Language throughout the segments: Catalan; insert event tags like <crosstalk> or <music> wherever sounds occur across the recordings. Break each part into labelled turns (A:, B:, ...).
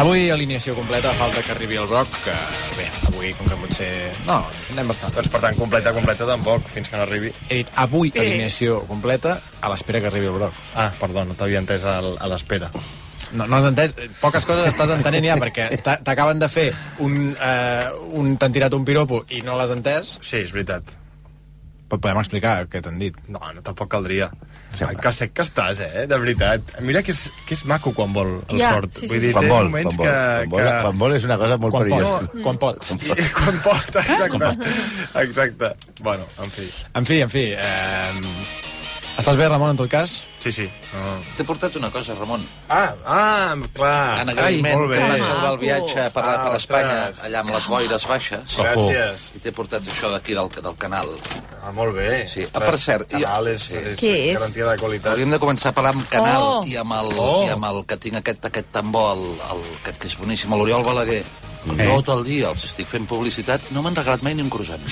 A: Avui alineació completa, a falta que arribi el Broc, que bé, avui com que potser... No, anem bastant.
B: Doncs per tant, completa, completa tampoc, fins que no arribi.
A: He dit avui alineació completa a l'espera que arribi el Broc.
B: Ah, perdó, no t'havia entès al, a l'espera.
A: No, no has entès? Poques coses estàs entenent ja, perquè t'a- t'acaben de fer un... Eh, un t'han tirat un piropo i no l'has entès.
B: Sí, és veritat.
A: Però podem explicar què t'han dit.
B: No, no tampoc caldria.
A: Sí,
B: Sí,
A: home.
B: que sec que estàs, eh? De veritat. Mira que és, que és maco quan vol el
C: Ja,
B: sort.
C: sí, sí,
B: Vull
C: sí.
B: dir,
D: Quan
B: té
D: vol, quan
B: moments
D: vol, quan vol,
B: que...
D: quan vol és una cosa molt
A: Quan
D: perillosa.
A: pot, Mm. quan pot.
B: que... <laughs> Quan pot, exacte. Exacte. Bueno, en fi.
A: En fi, en fi. Eh, estàs bé, Ramon, en tot cas?
B: Sí, sí. No.
E: T'he portat una cosa, Ramon.
B: Ah, ah, clar.
E: En agraïment
B: molt
E: que
B: bé.
E: vas salvar el viatge per, la,
B: Ah,
E: per Espanya,
B: ostres.
E: allà amb les boires baixes.
B: Gràcies.
E: I t'he portat això d'aquí del, del canal.
B: Ah, molt bé.
E: Sí. Ah, per cert, jo-
B: Canal és,
E: sí.
B: és,
C: Què és?
B: garantia de qualitat.
E: Hauríem de començar a parlar amb canal
C: Oh.
E: i, amb el,
B: Oh.
E: i amb el que tinc aquest, aquest tambor, el, el, aquest que és boníssim, l'Oriol Balaguer.
B: Mm.
E: Eh. Tot el dia els estic fent publicitat. No m'han regalat mai ni un croissant.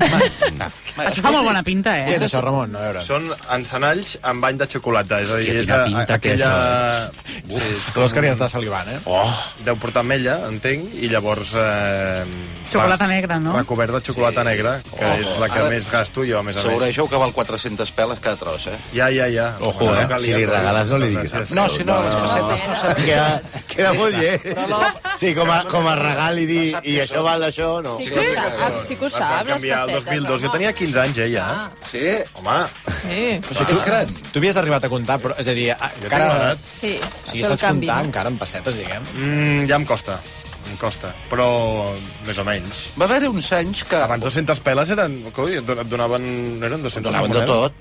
E: Mai, mai.
F: Això fa molt bona pinta,
A: Què
F: eh?
A: és això, Ramon? A veure.
B: Són encenalls amb bany de xocolata. És a dir,
G: Hòstia,
B: és
G: quina
B: a,
G: pinta que
B: aquella...
A: Tu veus que li està salivant, eh?
B: Oh. Deu portar ametlla, entenc, i llavors... Eh,
F: Xocolata
B: va-
F: negra, no?
B: Recobert de xocolata
E: Sí.
B: negra, que
E: Oh.
B: és la que
E: Ara-
B: més gasto jo, a més a més.
E: Segureixeu que val 400 peles cada tros, eh?
B: Ja, ja, ja.
D: Ojo, eh?
B: calia,
D: Si li
B: però-
D: regales, no li diguis.
B: Gràcies.
E: No, si no, les pessetes no
D: No,
E: serveixen.
D: queda, queda molt llet.
E: No, no.
D: Sí, com a, com a regal i dir, i això val això, no.
C: Sí que ho saps, sí que ho
B: Les van
C: saps, les
B: canviar el
C: pessetes.
B: 2002. Jo tenia 15 anys, eh, ja.
E: Sí?
B: Home,
C: Sí,
E: O sigui, que ets gran.
A: Tu havies arribat a comptar, però, és a dir, a-
B: jo
A: encara...
B: tinc l'edat.
C: sí.
A: O sigui,
C: Fer el
A: saps
C: canvi,
A: comptar
C: no?
A: encara en pessetes, diguem.
B: Mm, ja em costa. Em costa. Però més o menys.
E: Va haver-hi uns anys que...
B: Abans 200 peles eren... Coi, et don- et donaven... No eren 200
E: Donaven de
B: monedes?
E: tot.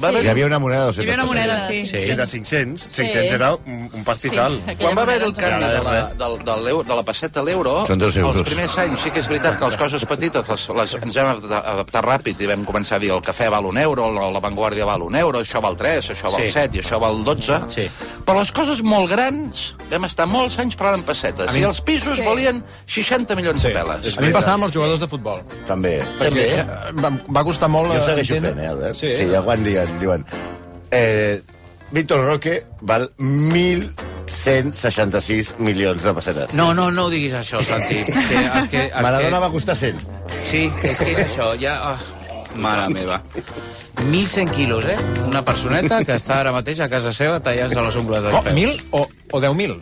E: Va
D: Hi
E: haver
D: havia una moneda de
F: Hi
D: 200
F: havia una moneda,
D: pessetes.
F: sí.
B: Sí. de 500. 500
C: Sí.
B: era un, un pastizal.
C: Sí,
E: Quan va haver el canvi
B: Ja,
E: de
B: ja,
E: la,
B: ja.
E: del, del, l'euro- de la pesseta a l'euro,
D: Són dos euros.
E: els primers anys sí que és veritat que les coses petites les, les, ens vam adaptar- adaptar ràpid i vam començar a dir el cafè val un euro, la, la vanguardia val un euro, això val 3, això val
G: Sí.
E: 7 i això val 12.
G: Sí.
E: Però les coses molt grans vam estar molts anys parlant en pessetes i els pisos valien 60 milions de peles.
A: A mi em passava amb els jugadors de futbol.
D: També.
E: També.
A: Perquè, eh, Va, va costar molt...
D: Jo
A: eh,
D: segueixo
A: entendre-
D: fent, eh, Albert?
A: Sí,
D: sí ja quan diuen, diuen... Eh, Víctor Roque val 1.166 milions de pessetes. Eh,
G: No, no, no ho diguis això, Santi. Que, el que, el
D: Maradona
G: que...
D: va costar 100.
G: Sí, és que és això, ja... Oh, mare meva. 1.100 quilos, eh? Una personeta que està ara mateix a casa seva tallant-se les ungles dels
A: Oh,
G: peus.
A: 1.000 o, o 10.000?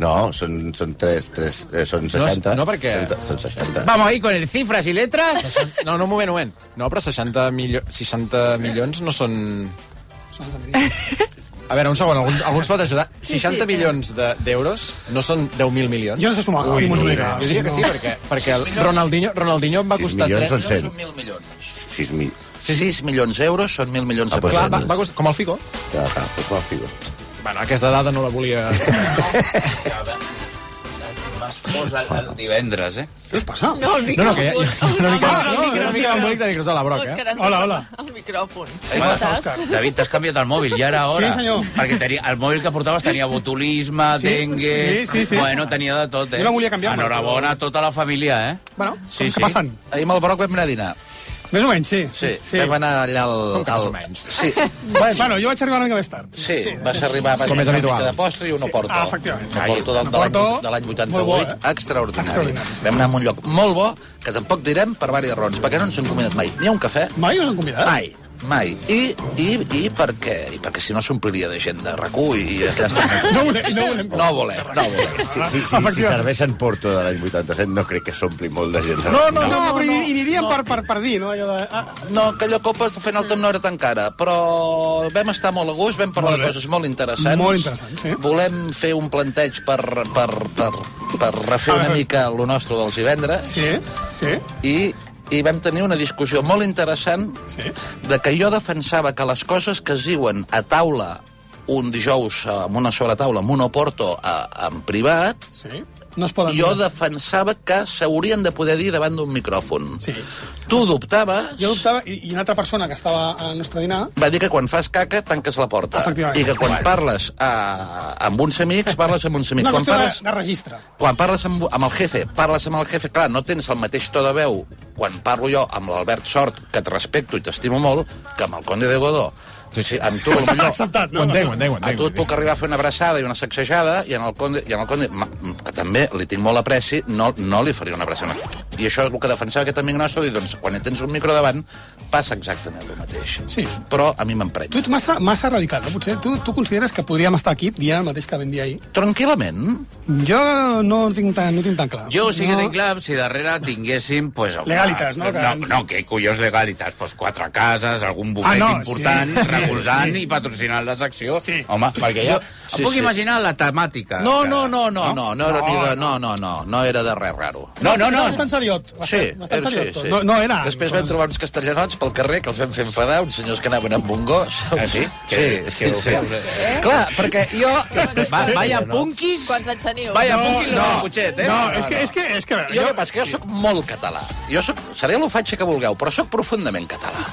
D: No, són, són 3, 3, eh, són 60.
A: no, perquè-
D: 60, són 60.
G: Vamos ahí con el cifras y letras.
A: No, no, un moment, un moment. No, però 60, milio... 60 milions no són... A veure, un segon, alguns, alguns pot ajudar. 60
C: sí.
A: milions de- d'euros de, no són 10.000 milions?
H: Jo no sé sumar. Ui, no,
A: Jo diria que sí, perquè, perquè el Ronaldinho, Ronaldinho em va
D: Sis
A: costar... 3...
D: milions són 100.
E: 1.000 milions.
D: 6 mil.
E: 6 milions d'euros són 1.000 milions de
D: Ah, doncs
A: Clar,
E: peles.
A: va, va costar, com el Figo.
D: Ja, clar, doncs va, figo.
A: Bueno, aquesta dada no la volia...
G: Divendres, eh?
H: Què us passa?
C: No, el
A: No, no, que hi ha,
C: micròfon.
A: hi ha una mica,
C: Ah,
A: no, una mica d'embolic de micros a la broca, eh?
C: Òscar, ens
H: Hola,
C: ha
H: hola.
C: tapat El micròfon.
H: Hola,
C: Saps?
H: Òscar.
G: David, t'has canviat el mòbil, ja era hora.
H: Sí, senyor.
G: Perquè tenia, el mòbil que portaves tenia botulisme,
H: Sí,
G: dengue...
H: sí, sí, sí.
G: Bueno, tenia de tot, eh?
H: Jo la volia canviar, però-
G: Enhorabona a tota la família, eh?
H: Bueno,
G: Sí,
H: sí,
G: sí.
H: que passen.
E: Ahir amb el Broc vam anar a dinar.
H: Més o menys, sí.
E: Sí, sí. vam anar allà al...
A: Com que
E: al...
A: més o menys?
E: Sí.
H: <laughs> Bueno, jo vaig arribar una mica més tard.
E: Sí, vas arribar vas
A: Com és
E: menjar una
A: habitual.
E: mica de postre i una porta.
H: Ah, efectivament.
E: Una porta del, de l'any-
H: Porto,
E: de l'any 88,
H: molt
E: bo,
H: bo,
E: eh? extraordinari.
H: Extraordinari.
E: Vam anar a un lloc molt bo, que tampoc direm per diverses raons, perquè no ens hem convidat mai ni a un cafè,
H: Mai us han convidat?
E: mai, mai. I, i, i per què? I perquè si no s'ompliria de gent de rac i, i aquelles...
H: No volem, no volem.
E: No volem, no volem.
D: Sí, sí, sí, si
H: Efectivament.
D: serveixen Porto de l'any 87, no crec que s'ompli molt de gent.
H: No, no, no, però hi, hi aniríem per, per, per dir, no? Allò de... Ah,
E: No, aquella copa fent el temps no era tan cara, però vam estar molt a gust, vam parlar
H: Molt
E: de
H: bé.
E: coses molt interessants.
H: Molt interessants, sí.
E: Volem fer un planteig per, per, per, per refer
H: A
E: una
H: veure.
E: mica el nostre dels divendres
H: sí, sí.
E: i, i vam tenir una discussió molt interessant
H: Sí.
E: de que jo defensava que les coses que es diuen a taula un dijous eh, amb una sobretaula, amb un oporto eh, en privat,
H: Sí. No es poden...
E: jo
H: dir.
E: defensava que s'haurien de poder dir davant d'un micròfon.
H: Sí.
E: Tu dubtaves...
H: Jo dubtava, i, i una altra persona que estava al nostre dinar...
E: va dir que quan fas caca tanques la porta
H: Efectivament.
E: i que quan parles a, amb uns amics parles amb uns amics
H: Una
E: quan
H: qüestió
E: parles,
H: de, de registre.
E: quan parles amb, amb el jefe parles amb el jefe, clar, no tens el mateix to de veu quan parlo jo amb l'Albert Sort que et respecto i t'estimo molt que amb el Conde de Godó Sí, sí, amb tu, potser...
H: Acceptat,
A: Ho
H: no?
A: entenc, ho entenc, ho
E: A
A: entenc.
E: tu et puc arribar a fer una abraçada i una sacsejada, i en el Conde, i en el conde ma- que també li tinc molt apreci, no, no li faria una abraçada. I això és el que defensava aquest amic nostre, dir, doncs, quan tens un micro davant, passa exactament el mateix.
H: Sí.
E: Però a mi
H: Tu
E: m'emprenya.
H: ets massa, massa radical, no? Potser tu, tu consideres que podríem estar aquí dient el mateix que vam dir ahir.
E: Tranquil·lament,
H: Jo no ho tinc tan, no ho tinc tan clar.
G: Jo ho sí que
H: no...
G: tinc clar, si darrere tinguéssim... Pues, alguna...
H: Legalitas, no?
G: No, no, que collons legalitas, pues, quatre cases, algun bufet
H: Ah, no,
G: important,
H: sí.
G: recolzant i patrocinant la secció. Sí. Home, perquè jo... Sí, em puc
E: sí.
G: imaginar la temàtica.
E: No,
G: que-
E: no, no, no, no, no, era ni de, no, no, no, no era de res raro.
G: No, no, no.
H: Bastant seriot.
E: Sí,
H: Bastant,
E: era,
H: bastant
E: sí,
H: seriot.
E: sí.
H: No, no era... Doncs
E: Després vam trobar uns castellanots pel carrer que els vam fer enfadar, uns senyors que anaven amb un gos.
G: Ah, sí?
E: Sí,
G: Que-
E: sí,
G: que ho
E: sí.
G: feu, eh?
E: Clar, perquè jo...
G: Va, vaya punkis...
C: Quants anys teniu?
G: Vaya
C: no.
G: punkis no,
E: no,
G: no, Puigdemont, eh?
H: No, és que... És que, és que
E: Jo, jo, que jo sóc molt català. Jo sóc, seré l'ofatge que vulgueu, però sóc profundament català.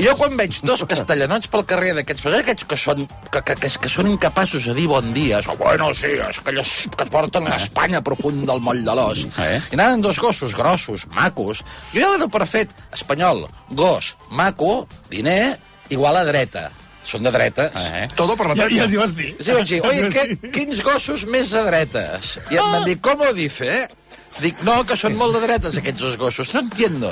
E: Jo quan veig dos castellanots pel carrer d'aquests, però aquests que són, que, que, que, que són incapaços de dir bon dia, o bueno, sí, és que allòs que et porten a Espanya profund del moll de l'os,
G: Eh?
E: i anaven dos gossos grossos, macos, jo ja dono per fet espanyol, gos, maco, diner, igual a dreta. Són de dretes.
G: Eh?
B: Todo por la
H: Ja, ja
B: tele.
H: els hi vas dir.
E: Sí,
H: <laughs>
E: vaig dir, oi,
H: Els hi vas
E: que, quins gossos més de dretes? I em
H: Ah!
E: van dir, com ho dice? Dic, no, que són molt de dretes, aquests dos gossos. No entiendo.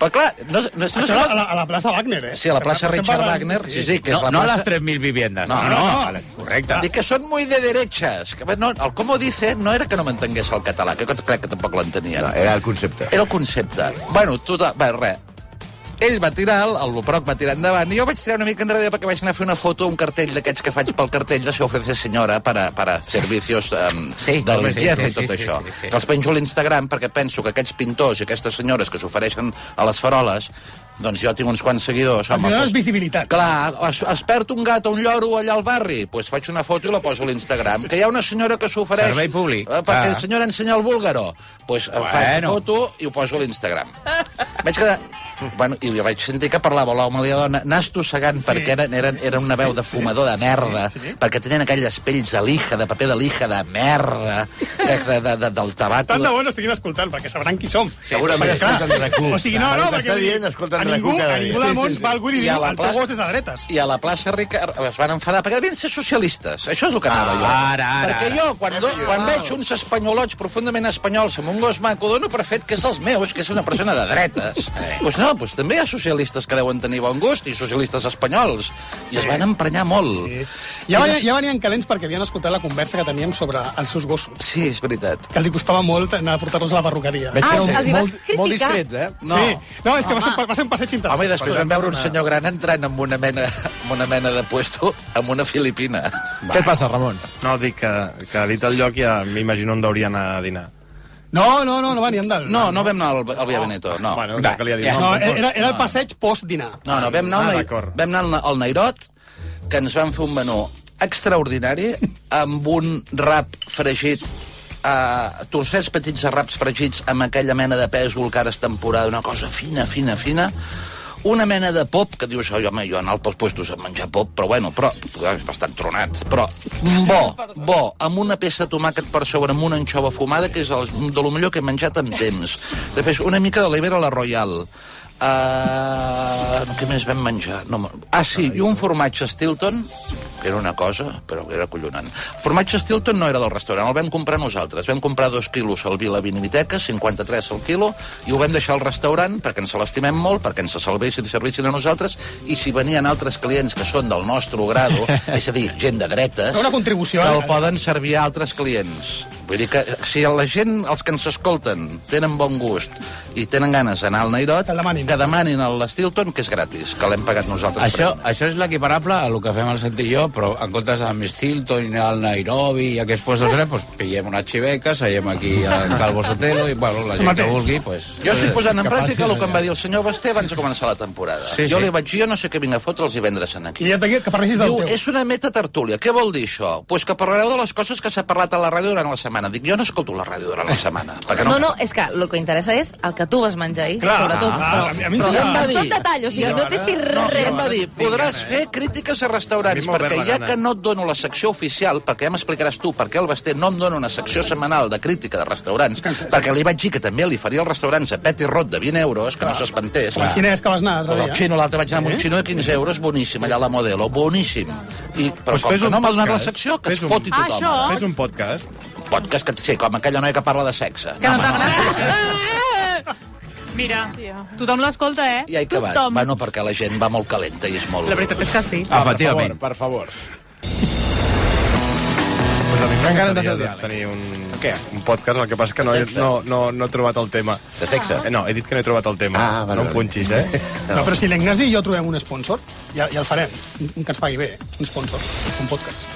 E: Però clar, no, no, no,
H: Això a la, a la plaça Wagner, eh?
E: Sí, a la plaça
H: Estem
E: Richard
H: parlant-
E: Wagner, sí, sí, que
G: No,
E: és la
G: no a les
E: plaça...
G: 3.000 viviendes.
E: No,
G: No,
E: no,
G: no,
E: no.
G: vale, correcte.
E: Dic que són muy de derechas. Que, no, el com ho dice no era que no m'entengués el català, que crec que tampoc l'entenia.
D: No, era el concepte.
E: Era el concepte. Bueno, total, bé, res. Ell va tirar, el- el Loproc va tirar endavant, i jo vaig tirar una mica enrere perquè vaig anar a fer una foto a un cartell d'aquests que faig pel cartell de se ofrece senyora per a, per a servicios um,
G: Sí,
E: de les
G: sí,
E: dietes
G: sí,
E: i tot
G: sí, sí,
E: això.
G: sí, sí.
E: Que els penjo a l'Instagram perquè penso que aquests pintors i aquestes senyores que s'ofereixen a les faroles doncs jo tinc uns quants seguidors.
H: Els hi dones
E: doncs-
H: visibilitat.
E: Clar, es, es perd un gat o un lloro allà al barri, doncs pues faig una foto i la poso a l'Instagram. Que hi ha una senyora que s'ofereix...
G: Servei públic.
E: Eh, perquè
G: Ah.
E: el senyor ensenya el búlgaro. Doncs pues, bueno. faig
G: Bueno.
E: foto i ho poso a l'Instagram. Vaig quedar... Bueno, i vaig sentir que parlava l'home i la dona, nas tossegant, sí, perquè eren, eren, era una veu de fumador de merda, sí, sí. perquè tenien aquelles pells de lija, de paper de lija, de merda, de, de, de, de, del tabac.
H: Tant de bo ens estiguin escoltant, perquè sabran qui som.
D: Segurament
H: Perquè, clar,
D: escolten RAC1.
H: O sigui, no,
D: Ara
H: no,
D: t'està
H: perquè... vull dir,
D: dient, escolten
H: a ningú,
D: RAC1 cada
H: a
D: dia.
H: ningú del
D: Sí,
H: món
D: sí, sí.
H: va algú i
E: I
H: li
E: a
H: diu,
E: la
H: el
E: pla-
H: teu gos és de dretes.
E: i a la plaça Rica es van enfadar perquè devien ser socialistes. Això és el que anava jo.
G: Ara, ara,
E: perquè
G: ara.
E: jo, quan, do, quan veig uns espanyolots profundament espanyols amb un gos maco, dono per fet que és els meus, que és una persona de dretes. Doncs pues no, pues també hi ha socialistes que deuen tenir bon gust i socialistes espanyols. I es van emprenyar molt.
H: Sí.
E: Sí,
H: Ja, venien, ja venien calents perquè havien escoltat la conversa que teníem sobre els seus gossos,
E: sí és veritat.
H: que els hi costava molt anar a portar-los a la perruqueria.
A: Veig
F: Ah,
A: que
F: els hi vas
A: molt, molt
F: criticar.
A: discrets, eh?
E: No.
H: Sí. No, és que va ser, un- va ser un passeig interessant.
E: Home, i després vam veure un senyor gran entrant amb una mena, amb una mena de puesto amb una filipina.
G: Mm.
A: Què et passa, Ramon?
B: No, dic que, que dit el lloc ja m'imagino on deuria anar a dinar.
H: No, no, no, no venien del...
E: No, no vam anar al, al Via Veneto, no.
B: Bueno, no calia dir.
G: ja.
H: no era, era el passeig post-dinar.
E: No, no, vam anar,
B: Ah,
E: al, Nai-
B: d'acord.
E: vam anar al, Na- al Nairot, que ens van fer un menú extraordinari,
B: <laughs>
E: amb un rap fregit, eh, torcets petits de raps fregits amb aquella mena de pèsol que ara és temporada, una cosa fina, fina, fina, una mena de pop, que dius, "Ai, home, jo anar pels puestos a menjar pop, però bueno, però, és bastant tronat, però bo, bo, amb una peça de tomàquet per sobre, amb una anxova fumada, que és el, de lo millor que he menjat amb temps. Després, una mica de l'Ibera a la Royal, Uh, què més vam menjar? No, me- ah, sí, i un formatge Stilton, que era una cosa, però que era collonant. El formatge Stilton no era del restaurant, el vam comprar nosaltres. Vam comprar dos quilos al Vila Vinimiteca, 53 al quilo, i ho vam deixar al restaurant perquè ens l'estimem molt, perquè ens salvessin i servissin a nosaltres, i si venien altres clients que són del nostre
H: <laughs>
E: grado, és a dir, gent de dretes,
H: Era una contribució,
E: que el
H: eh?
E: poden servir a altres clients. Vull dir que si la gent, els que ens escolten, tenen bon gust i tenen ganes d'anar al Nairot,
H: Que el demanin.
E: que demanin a l'Stilton, que és gratis, que l'hem pagat nosaltres.
G: Això,
E: per
G: això és l'equiparable a lo que fem al Santi i jo, però en comptes amb Stilton, al Nairobi i aquests puestos, grans, doncs pillem una xiveca, seiem aquí al Calvo Sotelo i, bueno, la gent que
H: Mateix.
G: vulgui, pues,
E: Jo estic posant en
G: que passi
E: pràctica el que
G: allà.
E: em va dir el senyor Basté abans de començar la temporada.
G: Sí,
E: jo
G: sí.
E: li vaig dir, jo no sé què vinc a fotre els divendres en aquí.
H: I ja et veia que parlessis del
E: Diu,
H: teu.
E: és una meta tertúlia. Què vol dir això? Doncs pues que parlareu de les coses que s'ha parlat a la ràdio durant la setmana. Dic, jo no escolto la ràdio durant la setmana. perquè
F: No, no, és que el que interessa és el que tu vas menjar ahir,
H: Clar,
F: sobretot.
H: ah,
F: però,
H: a mi- a mi em
F: però,
H: sembla-
F: amb tot detall, o sigui, no et deixis
E: No, i
F: res. eh?"
E: em va dir, podràs fer crítiques a restaurants,
B: Mismo
E: perquè que ja que no et dono la secció oficial, perquè ja m'explicaràs tu per què el Basté no em dona una secció setmanal de crítica de restaurants, perquè li vaig dir que també li faria els restaurants a Petit Rot de 20 euros, que no s'espantés.
H: El xinès que vas anar l'altre
E: Però el
H: dia.
E: xino, l'altre vaig anar amb un xino de 15 euros, boníssim, allà a la Modelo, boníssim. I, però
B: Doncs
E: com
B: fes
E: que
B: un
E: no m'ha donat la
B: podcast.
E: secció, que es
B: Fes un-
E: foti
F: Ah,
E: tothom.
F: això.
B: Fes doncs, un podcast.
E: Podcast que et sé, com aquella noia que parla de sexe.
F: Que no t'agrada.
I: Mira,
C: Hòstia.
I: tothom l'escolta, eh?
E: I ai que va.
I: Tothom.
E: Bueno, perquè la gent va molt calenta i és molt...
I: La veritat és que sí.
A: Ah,
G: Efectivament.
A: Per favor, per favor.
B: Pues a mi
A: Encara no
B: m'encantaria
A: t'has
B: de
A: dit.
B: tenir un,
A: Què?
B: un podcast, el que passa és que no, he-
D: Sexe.
B: no, no, no he trobat el tema.
D: De sexe?
B: Eh, no, he dit que no he trobat el tema.
D: Ah, vale,
B: no
D: vale.
B: em punxis, eh?
H: <laughs> No, però si l'Ignasi i jo trobem un sponsor, ja, ja el farem. Un que ens pagui bé, un sponsor, un podcast.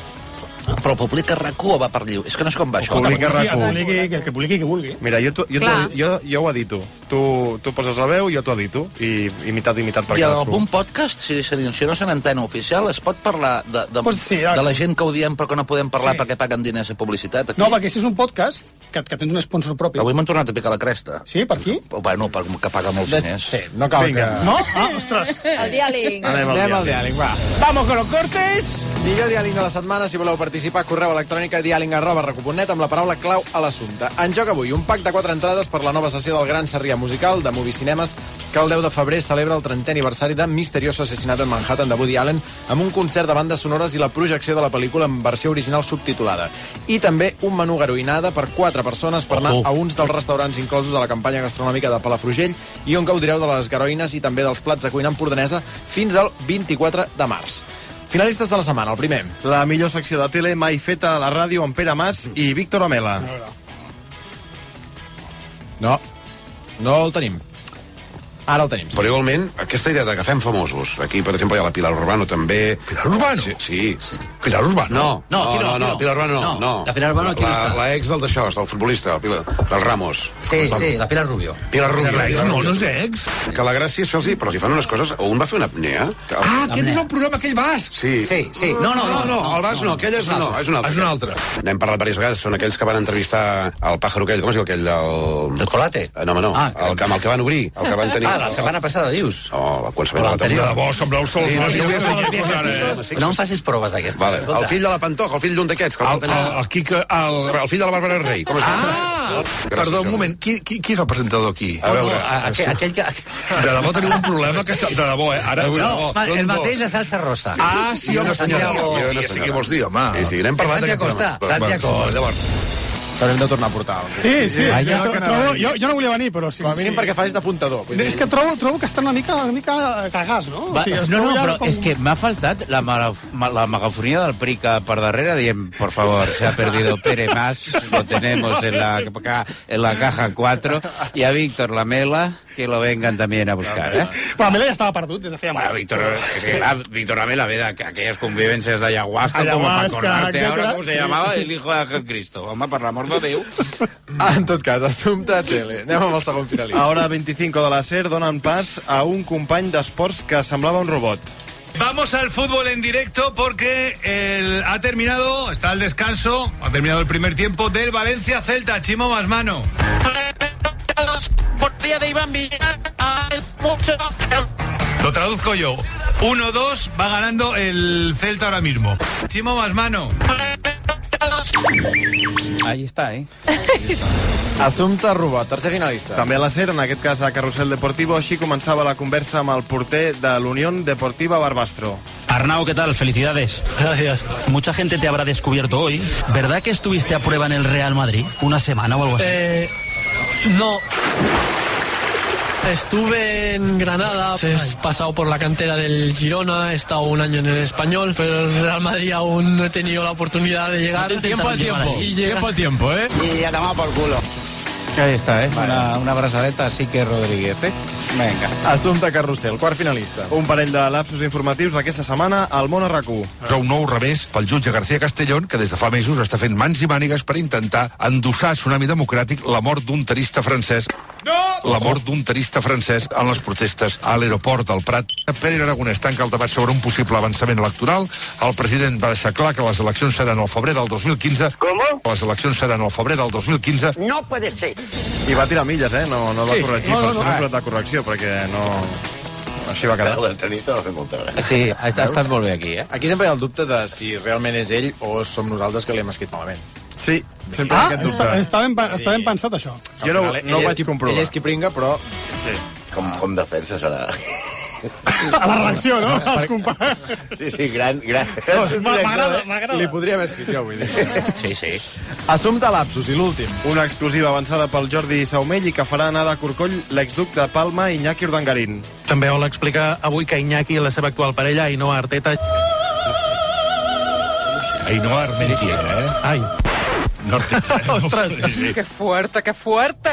E: Però publica rac o va per lliure? És que no és com va això.
B: publica
H: Sí, el, que
B: rac
H: publiqui, el que publiqui que vulgui.
B: Mira, jo, t'ho- jo,
I: Clar.
B: t'ho- jo, jo ho edito. Tu, tu poses la veu, jo t'ho edito. I imitat, imitat per
E: I en el
B: cadascú.
E: punt podcast, si, se dimensiona en antena oficial, es pot parlar de, de,
H: Pues sí, ja.
E: de la gent que ho diem però que no podem parlar
H: Sí.
E: perquè paguen diners a publicitat? Aquí?
H: No, perquè si és un podcast, que, que tens un sponsor propi.
E: Avui m'han tornat a picar la cresta.
H: Sí, per aquí?
E: Bueno, per, que paga molts
A: De...
E: diners.
A: Sí, no cal
B: Vinga.
A: que...
H: No? Ah, ostres!
C: El diàleg.
B: Anem al
A: Anem al
B: diari.
A: diàleg, va. Vamos con los cortes. Lliga diàleg de la setmana. Si voleu participar, correu electrònic a diàleg arroba recuponet amb la paraula clau a l'assumpte. En joc avui, un pack de quatre entrades per la nova sessió del Gran Sarrià Musical de Movie Cinemes que el 10 de febrer celebra el 30è aniversari de Misterioso Assassinato en Manhattan de Woody Allen amb un concert de bandes sonores i la projecció de la pel·lícula en versió original subtitulada. I també un menú garoïnada per quatre persones per anar
G: Ojo.
A: a uns dels restaurants inclosos a la campanya gastronòmica de Palafrugell i on gaudireu de les garoïnes i també dels plats de cuina empordanesa fins al 24 de març. Finalistes de la setmana, el primer.
B: La millor secció de tele mai feta a la ràdio amb Pere Mas i Víctor Amela.
A: No, no el tenim. Ara el tenim.
D: Però igualment, aquesta idea de que fem famosos, aquí, per exemple, hi ha la Pilar Urbano, també... Pilar Urbano? Sí. sí. Pilar Urbano? No,
E: No,
D: no,
E: qui no, qui
D: no, no,
E: no?
D: Pilar Urbano no.
E: No,
D: no.
E: la Pilar Urbano, qui no
D: La-
E: està?
D: La ex del d'això, del futbolista, el Pilar, del Ramos. Doncs
E: Sí, sí, la Pilar Rubio.
D: Pilar Rubio.
E: Pilar
D: Pilar Rubio.
J: ex.
D: Que la gràcia és fer-los... Però si fan unes coses... O un va fer una apnea... Que...
J: Ah, aquest és el programa aquell basc.
D: Sí.
E: Sí, sí. No, no,
D: No, no, el Bas no, aquell és, no, és un altre.
J: És un altre.
D: N'hem parlat diverses vegades, són aquells que van entrevistar el pàjaro aquell, com es diu aquell del...
E: Del Colate?
D: Eh, No, home, no,
E: Ah,
D: ah, el, que, amb el que van obrir, el que van tenir...
E: Ah, la setmana passada, dius?
D: Oh, la qualsevol
E: Però
D: altra.
E: l'anterior.
J: De debò, sembleu sols.
D: Sí,
J: no?
D: sí, sí,
J: Ara, eh?
D: sí.
E: No em facis proves d'aquestes.
D: Vale.
E: escolta.
D: El fill de la Pantoja, el fill d'un d'aquests. que el
J: El,
D: van
J: el,
D: tenir-
J: el Quique... El...
D: el fill de la Bàrbara Rey, com es diu?
J: Ah!
D: Gràcies,
J: Perdó, un
D: home.
J: moment. Qui, qui, qui és el presentador aquí?
D: A
E: No,
D: veure,
E: a- aquell, aquell que...
J: De debò teniu un problema que... se- De debò, eh? Ara... de
E: No,
J: debò.
E: ma- el
J: Són
E: mateix
J: dos.
E: de Salsa Rosa.
J: Ah, sí, home, senyor.
E: Santiago.
J: Sí, ja sé què vols dir, home.
D: Sí, sí, n'hem parlat.
E: Santiago
D: d'aquest
E: Costa,
D: programa.
E: Santiago
D: Va, va,
E: Costa.
D: Llavors,
A: Però hem de tornar a portar. el-
H: Sí, sí.
A: Allà
H: jo,
A: que anava
H: trobo,
A: a dir.
H: jo, jo no volia venir, però sí.
A: Com a mínim
H: sí.
A: perquè facis d'apuntador. vull dir.
H: És que trobo, trobo que estan una mica, una mica cagats, no?
G: Va,
H: es
G: no, no,
H: trobo ja
G: però és que m'ha faltat la, mara- ma- la megafonia del Prica per darrere dient, por favor, se ha perdido Pere Mas, lo tenemos en la, ca- en la caja 4, y a Víctor Lamela, que lo vengan también a buscar, eh?
H: Però a mi ja estava perdut des de feia
G: Bueno,
H: molt.
G: Víctor, es que la, Víctor Lamela ve de aqu- aquellas convivencias de ayahuasca, como para
H: Ayahuasca,
G: acordarte ahora
H: etcétera.
G: cómo se
H: Sí.
G: llamaba el hijo de Jesucristo. Home, per l'amor de Déu.
A: Ah, en tot cas, assumpte a tele. Anem amb el segon finalista.
B: A hora 25 de la SER donen pas a un company d'esports que semblava un robot.
J: Vamos al fútbol en directo porque el- ha terminado, está el descanso, ha terminado el primer tiempo del Valencia Celta, Chimo más mano.
I: Portería de Iván Villar es mucho.
J: Lo traduzco yo. 1-2 va ganando el Celta ahora mismo. Chimo más mano.
G: Ahí está, eh?
A: Assumpte robot, tercer finalista.
B: També a la SER, en aquest cas a Carrusel Deportivo, així començava la conversa amb el porter de l'Unión Deportiva Barbastro.
K: Arnau, ¿qué tal? Felicidades. Gracias. Mucha gente te habrá descubierto hoy. ¿Verdad que estuviste a prueba en el Real Madrid una semana o algo así? Eh, no. Estuve en Granada, he pasado por la cantera del Girona, he estado un año en el Español, pero el Real Madrid aún no he tenido la oportunidad de llegar. tiempo al tiempo. tiempo al tiempo.
J: ¿eh?
G: Ahí está, eh? Una, una brazaleta así que Rodríguez, eh? Venga.
A: Assumpte Carrusel, quart finalista.
B: Un parell de lapsos informatius d'aquesta setmana al món RAC1.
J: Però un nou revés pel jutge García Castellón, que des de fa mesos està fent mans i mànigues per intentar endossar a Tsunami Democràtic la mort d'un terista francès. No! La mort d'un terista francès en les protestes a l'aeroport del Prat. Pere Aragonès tanca el debat sobre un possible avançament electoral. El president va deixar clar que les eleccions seran al febrer del 2015. Com? Les eleccions seran al febrer del 2015.
B: I va tirar milles, eh? No, no va
A: Sí.
B: corregir,
A: No, no,
B: no,
A: no.
B: no, no. per això no ha posat la correcció, perquè no... Així va quedar.
A: El tenista va fer molta gràcia.
G: Sí, ha estat, ha estat molt bé aquí, eh?
A: Aquí sempre hi ha el dubte de si realment és ell o som nosaltres que li hem escrit malament.
B: Sí, sempre
H: Ah, està, està, ben, pe- està ben pensat, això.
A: Jo no, final, no ho vaig comprovar. Ell és qui pringa, <laughs> però...
B: Sí.
L: Com, com defenses a la...
H: A la redacció,
L: <laughs>
H: no? Els companys.
L: Sí, sí, gran... gran.
A: No, és un
H: M'agrada,
A: director, eh?
H: m'agrada.
A: Li podria haver escrit jo, vull dir.
G: Sí, sí.
A: Assumpte lapsus, i l'últim.
B: Una exclusiva avançada pel Jordi Saumell i que farà anar de corcoll l'exduc de Palma Iñaki Urdangarín.
M: També vol explicar avui que Iñaki i la seva actual parella, Ainhoa Arteta...
J: Ainhoa Armentiera, eh?
M: Ai.
J: No
A: Ostres,
N: Que fuerte, que fuerte!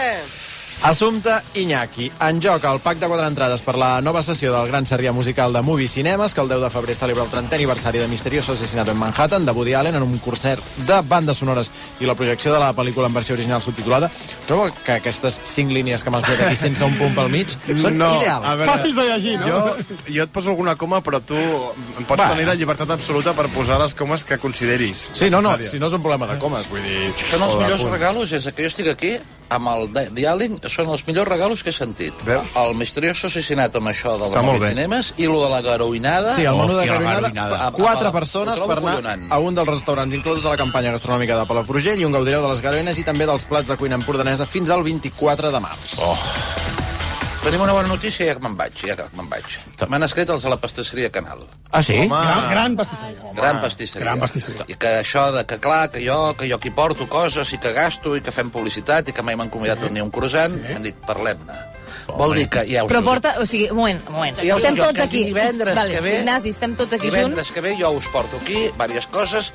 A: Assumpte Iñaki. En joc el pack de quatre entrades per la nova sessió del Gran Sèrie Musical de Movie Cinemes, que el 10 de febrer celebra el 30è aniversari de Misterioso Assassinat en Manhattan, de Woody Allen, en un concert de bandes sonores i la projecció de la pel·lícula en versió original subtitulada. Trobo que aquestes cinc línies que m'has fet aquí sense un punt pel mig són ideals.
B: a veure, Jo, jo et poso alguna coma, però tu em pots
A: Va.
B: tenir la llibertat absoluta per posar les comes que consideris.
A: Sí, no, no, si no és un problema de comes, vull dir...
E: Són els
A: o de
E: millors
A: punt.
E: regalos, des que jo estic aquí, amb el de- diàleg, són els millors regalos que he sentit. Veus? El misterioso assassinat amb això de
A: Està molt bé.
E: cinemes i lo de la garoinada.
A: Sí, el menú de
E: A- a-
A: Garoinada.
E: a-
A: Quatre
E: ho
A: persones
E: trobo
A: per anar
E: collonant.
A: a un dels restaurants inclosos a la campanya gastronòmica de Palafrugell i un gaudireu de les Garoines i també dels plats de cuina empordanesa fins al 24 de març.
E: Oh. Tenim una bona notícia i ja que me'n vaig, ja que me'n vaig. M'han escrit els de la pastisseria Canal.
G: Ah, sí?
H: Gran, gran pastisseria.
E: gran pastisseria. Gran pastisseria. I que això de que, clar, que jo, que jo aquí porto coses i que gasto i que fem publicitat i que mai m'han convidat sí. ni un croissant, sí. han dit, parlem-ne. Vol dir que ja us
F: Però
E: ho
F: porta... O sigui, un moment, un moment.
E: Ja us
F: estem
E: dic jo,
F: tots
E: que
F: aquí.
E: divendres
F: vale,
E: que ve-
F: Ignasi, estem tots aquí
E: Divendres
F: junts.
E: que ve jo us porto aquí diverses coses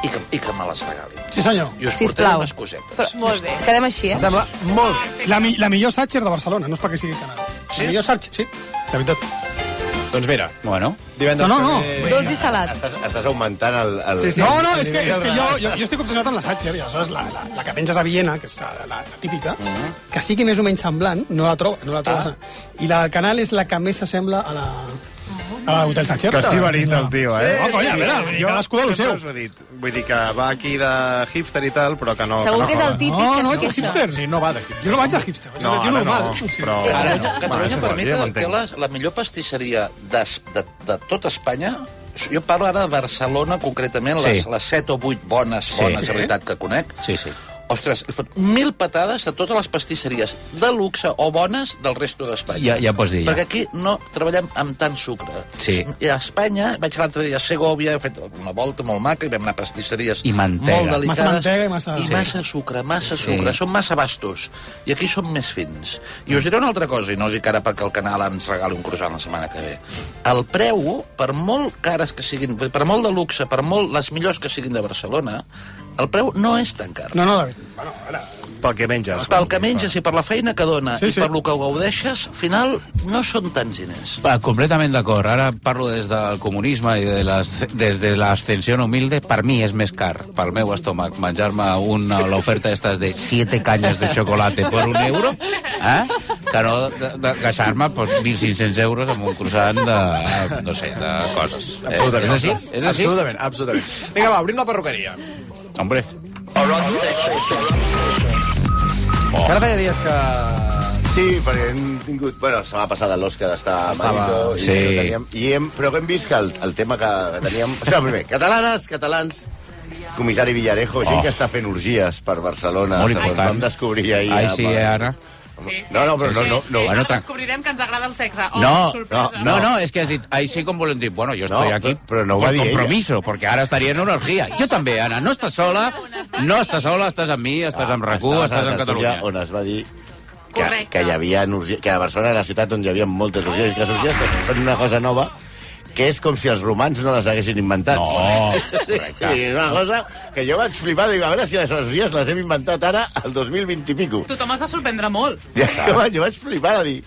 E: i que, i que me les regalin.
H: Sí, senyor.
E: I us portaré
H: Sisplau.
E: unes cosetes.
F: Però, molt bé. Quedem així, eh?
H: Em sembla molt bé. La, mi, la millor Satcher de Barcelona, no és perquè sigui canal. Sí? La millor Satcher, sí, de veritat.
A: Doncs mira.
G: Bueno.
H: No, no, no.
F: Dolç i salat.
L: Estàs, estàs augmentant el... el...
H: Sí, sí. No, no, és que, és que jo, jo, jo estic obsessionat amb la Satcher, i aleshores la, la, la que penges a Viena, que és la, la, la típica, que sigui més o menys semblant, no la, trob, no la trobes. Mhm. Ah. I la del canal és la que més s'assembla a la... A l'hotel Satcher.
B: Que sí, verit, el tio, eh?
H: Sí, oh, colla, a veure,
B: Jo
H: cadascú del
B: sempre
H: seu.
B: us ho he dit. Vull dir que va aquí de hipster i tal, però que no...
F: Segur
B: no
F: que és el
B: cola.
F: típic
H: No,
F: que es
H: no vaig de
F: queixa.
H: hipster.
A: Sí, no va de hipster.
H: Jo no vaig de hipster, vaig
B: No,
H: de tio
B: ara
H: normal.
B: no,
H: Sí.
B: però-
E: Catalunya,
B: Ara no.
E: Catalunya
B: Mare,
E: per mi
B: ja
E: que,
B: m'entenc.
E: que la, la millor pastisseria de, de, de tot Espanya jo parlo ara de Barcelona, concretament,
G: Sí.
E: les, les 7 o 8 bones, bones,
G: Sí.
E: sí. de veritat, que conec.
G: Sí, sí.
E: Ostres, li fot mil patades a totes les pastisseries de luxe o bones del resto d'Espanya.
G: Ja- ja pots dir, ja.
E: Perquè aquí no treballem amb tant sucre.
G: Sí.
E: I a Espanya, vaig l'altre dia a Segovia, he fet una volta molt maca i vam anar a pastisseries
G: I mantega.
E: molt delicades.
G: Massa mantega
H: i massa-
E: I
H: Sí.
E: massa sucre, massa
G: Sí,
E: sí,
G: sí.
E: sucre. Són massa bastos. I aquí som més fins. I us diré una altra cosa, i no us dic ara perquè el canal ens regali un croissant la setmana que ve. El preu, per molt cares que siguin, per molt de luxe, per molt les millors que siguin de Barcelona, el preu no és tan car.
H: No, no, David.
B: Pel que menges.
E: Pel que menges i per la feina que dona
G: Sí,
E: sí,
G: sí.
E: sí. i per lo que ho gaudeixes, al final no són tants diners.
G: Va, Ah, completament d'acord. Ara parlo des del comunisme i de les, des de l'ascensió humilde. Per mi és més car, pel meu estómac, menjar-me una l'oferta estas de 7 canyes de xocolate per un euro, eh? que no de- de- gastar-me pues, 1.500 euros amb un croissant de, no sé, de coses. Eh? És així? És així?
A: Absolutament, absolutament. Vinga, va, obrim la perruqueria.
G: Hombre.
A: Oh. Ara feia dies que...
L: Sí, perquè hem tingut... Bueno, la setmana passada l'Òscar estava...
A: Estava-
L: malito
A: sí.
L: I, no teníem, i hem, però hem vist que el, el tema que teníem... <laughs> O sigui, primer, catalanes, catalans, comissari Villarejo, gent
G: Oh.
L: que està fent orgies per Barcelona.
G: Molt
L: segons
G: important.
L: Vam descobrir ahir...
G: Ai,
L: amb
G: sí,
L: el-
G: eh, Anna?
L: No, no, però no, no, no.
G: Bueno, tra-
I: Descobrirem que ens agrada el sexe. Oh,
G: No, no,
I: sorpresa.
G: no, no, es que has dit, ahí sí con voluntat. Bueno, yo estoy
L: No,
G: aquí
L: però no ho va
G: por
L: dir ella.
G: compromiso, porque ahora estaría en una orgía. Jo també, Anna, no estàs sola, no estàs sola, estàs amb mi, estàs amb RAC1,
L: Estaves Ah, a la
G: estàs amb
L: tertúlia
G: Catalunya.
L: On es va dir que,
G: Correcte.
L: que hi havia orgies, que a Barcelona era la ciutat on hi havia moltes orgies, i que les orgies són una cosa nova, que és com si els romans no les haguessin inventat.
G: No,
L: correcte. <laughs> I és una cosa que jo vaig flipar, dic, a veure si les orgies les hem inventat ara, al 2020 i pico.
I: Tothom es va sorprendre molt.
L: Ja, <laughs> jo, vaig, jo vaig flipar a dir...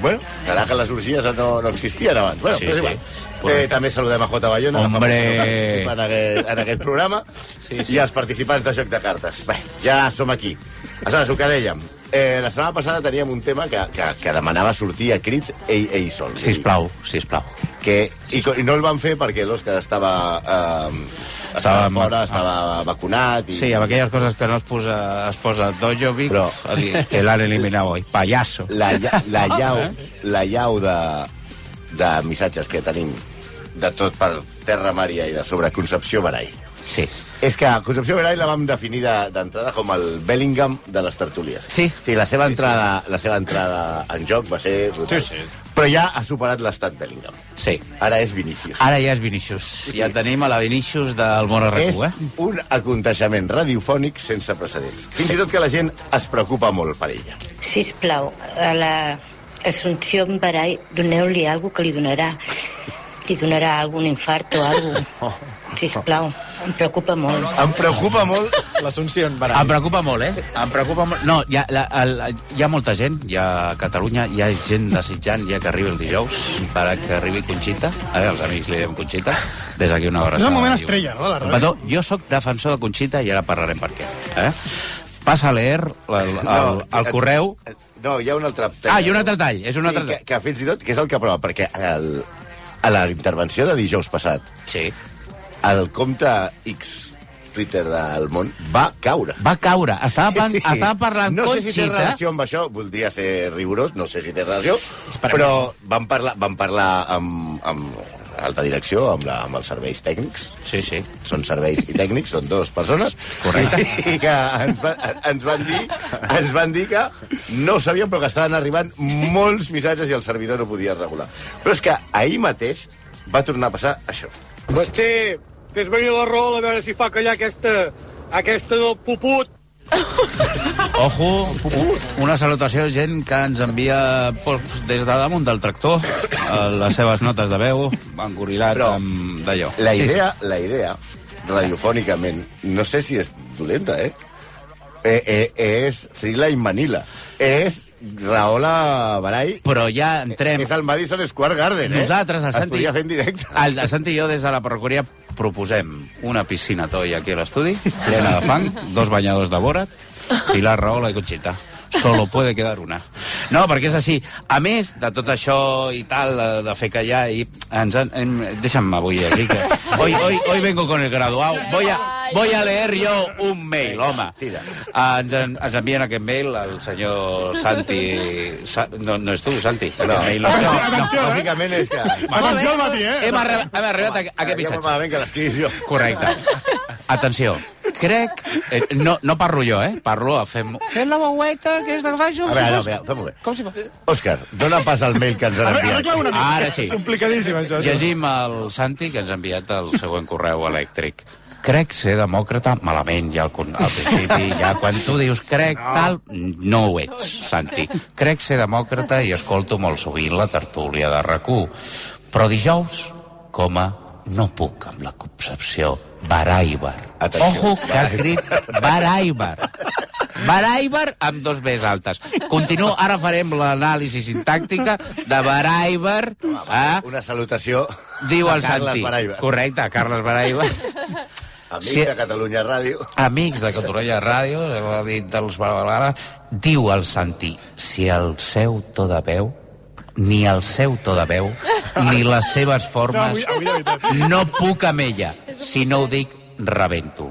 L: Bueno, serà que les orgies no, no existien abans. Bueno,
G: Sí,
L: sí, però és
G: sí.
L: igual. Eh, també saludem a J. Bayona, que fa
G: Hombre.
L: molt de temps que participa en aquest, en aquest programa, sí, sí. i els participants de Joc de Cartes. Bé, ja som aquí. Aleshores, el que dèiem, eh, la setmana passada teníem un tema que, que, que demanava sortir a crits ell, ell sol.
G: Sisplau, sisplau.
L: Que, i, co- I no el van fer perquè l'Òscar estava... Eh, estava,
G: Estava- Ah.
L: fora, estava vacunat... I,
G: Sí, amb aquelles coses que no es posa, es posa Dojovic, Però... que l'han eliminat avui. Payaso. <laughs> Eh?
L: la, lla- la llau, la llau de, de missatges que tenim de tot per terra, mar i aire sobre Concepció Barall.
G: Sí.
L: És que Concepció Barall la vam definir de- d'entrada com el Bellingham de les tertúlies.
G: Sí.
L: Sí, la seva, entrada, la seva entrada en joc va ser brutal. Sí, sí. Però ja ha superat l'estat Bellingham.
G: Sí. Ah,
L: Ara és Vinícius.
G: Ara ja és Vinícius. Ja tenim a la Vinícius del Món
L: És
G: Arracú, eh?
L: un aconteixement radiofònic sense precedents. Fins i tot que la gent es preocupa molt per ella.
O: Sisplau, a la Assumpció en Barall, doneu-li alguna que li donarà. Li donarà algun infart o alguna cosa. Sisplau, em preocupa molt.
L: Em preocupa
A: <laughs>
L: molt
A: l'Assumpció en
G: Em preocupa molt, eh? Em preocupa molt. No, hi ha, la, el, hi ha molta gent, hi ha a Catalunya, hi ha gent desitjant ja que arribi el dijous, per a que arribi Conxita, eh, els amics li diem Conxita, des d'aquí una hora.
H: És el moment estrella, no? de La ràdio.
G: Petó, jo sóc defensor de Conxita i ara parlarem per què. Eh? Passa a leer el, el, el, el correu.
L: No, hi ha un altre tall.
G: Ah, hi ha un altre tall, és un
L: sí,
G: altre
L: Que, que fins i tot, que és el que prova, perquè el, a la intervenció de dijous passat,
G: sí.
L: el compte X Twitter del món va caure.
G: Va caure. Estava, pan, estava parlant
L: no sé si té
G: Conxita.
L: relació amb això, voldria ser rigorós, no sé si té relació, però vam parlar, vam parlar amb, amb alta direcció, amb, la, amb els serveis tècnics.
G: Sí, sí.
L: Són serveis i tècnics, són dues persones.
G: Correcte.
L: I que ens, va, ens, van dir, ens van dir que no ho sabien, però que estaven arribant molts missatges i el servidor no podia regular. Però és que ahir mateix va tornar a passar això.
P: Basté, fes venir la rola a veure si fa callar aquesta, aquesta del puput.
G: Ojo, una salutació, gent que ens envia pues, des de damunt del tractor eh, les seves notes de veu, engorilat Però, amb d'allò.
L: La idea, la idea, radiofònicament, no sé si és dolenta, eh? Eh, eh, és Thrilla in Manila. És Rahola Barai.
G: Però ja entrem...
L: És el Madison Square Garden, eh?
G: Nosaltres, el
L: Es
G: Santi...
L: podia fer en directe.
G: El, el Santi i jo, des de la perruqueria, proposem una piscina toia aquí a l'estudi, plena de fang, dos banyadors de Borat, Pilar Rahola i Conxita. Solo puede quedar una. No, perquè és així. A més de tot això i tal, eh, de fer callar, i ens han... Hem... Deixa'm avui aquí, que... Hoy, hoy, hoy vengo con el graduado. Voy a, voy a leer yo un mail, home.
L: Tira.
G: Ah, ens, en- ens envien aquest mail el senyor Santi... Sa... No, no és tu, Santi. No, mail,
L: <laughs>
G: no, no,
L: no, bàsicament és que...
G: Atenció al matí, eh? Hem arri- hem arribat a- a
E: Ah,
G: aquest missatge.
L: Ja malament Ah, que l'escriguis jo.
G: Correcte. Atenció, crec... Eh, no, no parlo jo, eh? Parlo, fem...
N: Fes la veueta, que és de faig
L: A veure, no, veure, fem-ho bé.
N: Com si fos?
L: Òscar, dona pas al mail que ens han enviat. Ah,
G: Ara sí.
A: Complicadíssim, això.
G: Llegim el Santi, que ens ha enviat el següent correu elèctric. Crec ser demòcrata malament, ja al, con- al principi, ja quan tu dius crec no. tal, no ho ets, Santi. Crec ser demòcrata i escolto molt sovint la tertúlia de rac Però dijous, com a no puc amb la Concepció Baraibar. Ojo que ha escrit Baraibar. Baraibar amb dos Bs altes. Continuo, ara farem l'anàlisi sintàctica de Baraibar. Eh?
L: Una salutació
G: Diu
L: a
G: el
L: Carles
G: Santi.
L: Baraibar.
G: Correcte, a Carles Baraibar.
L: <laughs> Amic
G: Sí.
L: de Catalunya Ràdio.
G: Amics de Catorella Ràdio, ho ha dit dels Barbalana, diu el Santi, si el seu to de veu, ni el seu to de veu, ni les seves formes,
Q: avui- avui de
G: no puc amb ella. Si no ho dic, rebento.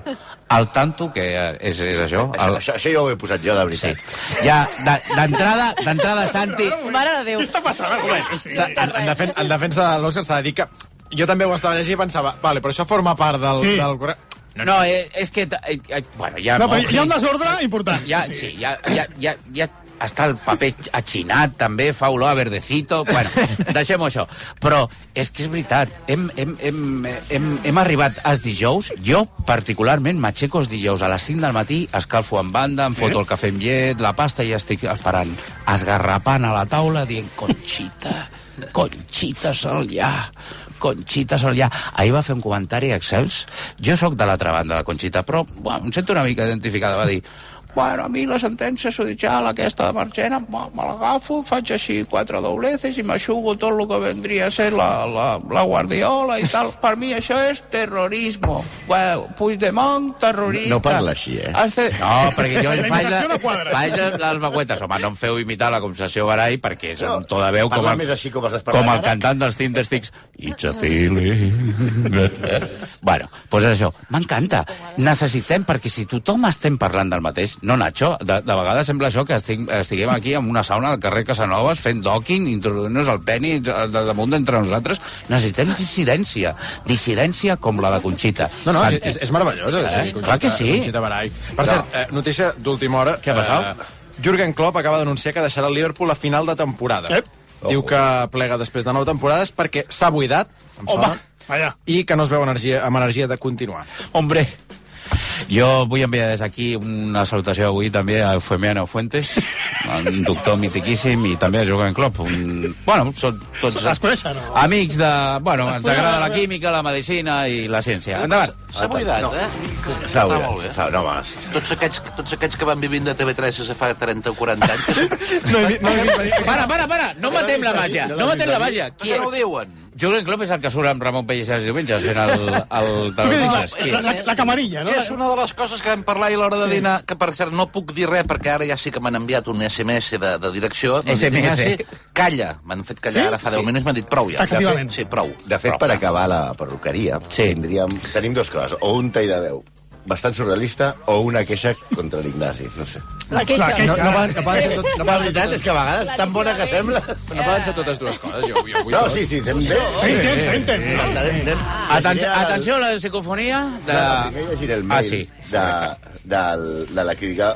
G: Al tanto, que eh, és, és això... El...
L: Això, això jo ho he posat jo, de veritat.
G: Sí. Ja, de- d'entrada, d'entrada, Santi...
F: Mare de Déu. Què
H: està passant?
A: En, en, defen en defensa de l'Òscar s'ha de dir que jo també ho estava llegint i pensava, vale, però això forma part del...
G: Sí.
A: del... correu".
G: No, no, eh, és que... ta- eh, eh, Bueno, ja...
A: No, però hi ha un
H: desordre important.
G: Ja, sí, ja, ja, ja, ja està el paper aixinat, també, fa olor a verdecito... Bueno, deixem això. Però és que és veritat, hem, hem, hem, hem, hem arribat als dijous. Jo, particularment, m'aixeco els dijous a les 5 del matí, escalfo en banda, em foto el cafè amb llet, la pasta, i estic esperant, esgarrapant a la taula, dient, Conxita, Conxita Solià, Conxita Solià. Ahir va fer un comentari a Excels. Jo sóc de l'altra banda de Conxita, però bueno, em sento una mica identificada. Va dir, bueno, a mi la sentència judicial aquesta de Marchena me me l'agafo, faig així quatre dobleces i m'aixugo tot el que vendria a ser la, la, la guardiola i tal. Per mi això és terrorisme. Bueno, Puigdemont, terrorista...
L: No parla així, eh?
G: Este... No, perquè jo
L: La
G: faig,
L: imitació
G: la,
L: no quadra.
G: faig les vaguetes. Home, no em feu imitar la Concepció Barall perquè és un to de veu com
L: Parla
G: el,
L: més així com estàs parlant
G: com el
L: ara.
G: cantant dels Tindestics. It's a feeling. <laughs> bueno, doncs és això. M'encanta. Necessitem, perquè si tothom estem parlant del mateix, No, Nacho, de, de vegades sembla això que estic, estiguem aquí en una sauna del carrer Casanovas fent docking, introduint-nos el peni de, de damunt d'entre nosaltres. Necessitem dissidència. Dissidència com la de Conxita.
A: No, no,
G: Santi.
A: és, és meravellós. Eh?
G: Eh? Clar que sí.
A: Conxita Barai. Per cert, eh, notícia d'última hora. Què
G: ha passat?
A: Eh, Jürgen Klopp acaba d'anunciar que deixarà el Liverpool a final de temporada. Ep. Diu que plega després de nou temporades perquè s'ha buidat, em sona,
H: Allà.
A: i que no es veu energia, amb energia de continuar.
G: Hombre, Jo vull enviar des d'aquí una salutació avui també a Eufemiano Fuentes, un doctor mitiquíssim i també a Jürgen Klopp. Un... Bueno, són tots
H: Es coneixen, no?
G: amics de... Bueno, ens
H: coneixen,
G: agrada
H: no?
G: la química, la medicina i la ciència. Endavant.
E: S'ha buidat,
G: No.
E: eh?
L: S'ha
E: Ah,
L: buidat.
E: molt bé.
L: S'ha- No, home, sí,
E: Tots aquests, tots aquests que van vivint de TV3 des de fa 30 o 40 anys.
L: <laughs>
G: No he, no Para, para, para! No matem la màgia! No matem la màgia!
E: Qui no ho diuen?
G: Jürgen Klopp és el que surt amb Ramon Pellicer els diumenges fent el... el Telenotícies. Qui és?
H: la camarilla,
E: no? És
L: eh?
E: una de les coses que vam parlar ahir a l'hora de
G: Sí.
E: dinar, que per cert no puc dir res perquè ara ja sí que m'han enviat un SMS de, de direcció. doncs
L: SMS.
E: dic, Calla. M'han fet callar
L: Sí?
E: ara fa 10
L: Sí.
E: minuts, m'han dit prou ja.
L: Taxativament.
E: De fet- Sí, prou.
L: De fet, per acabar la perruqueria, sí. tindríem, tenim dues coses. O un tall de veu bastant surrealista o una queixa contra l'Ignasi, no sé.
C: La queixa. La queixa.
L: No, no, poden, no poden ser tot, no
C: La
L: poden ser
C: veritat
L: tot, és que a vegades tan bona que sembla.
A: No poden ser totes dues coses, jo, jo vull
L: No,
A: tot.
L: sí, eh. sí, anem bé.
A: Fem temps, fem temps.
G: Atenció, atenció a la psicofonia de...
L: No, primer llegiré el mail
G: Ah, sí.
L: de, del- de la crítica.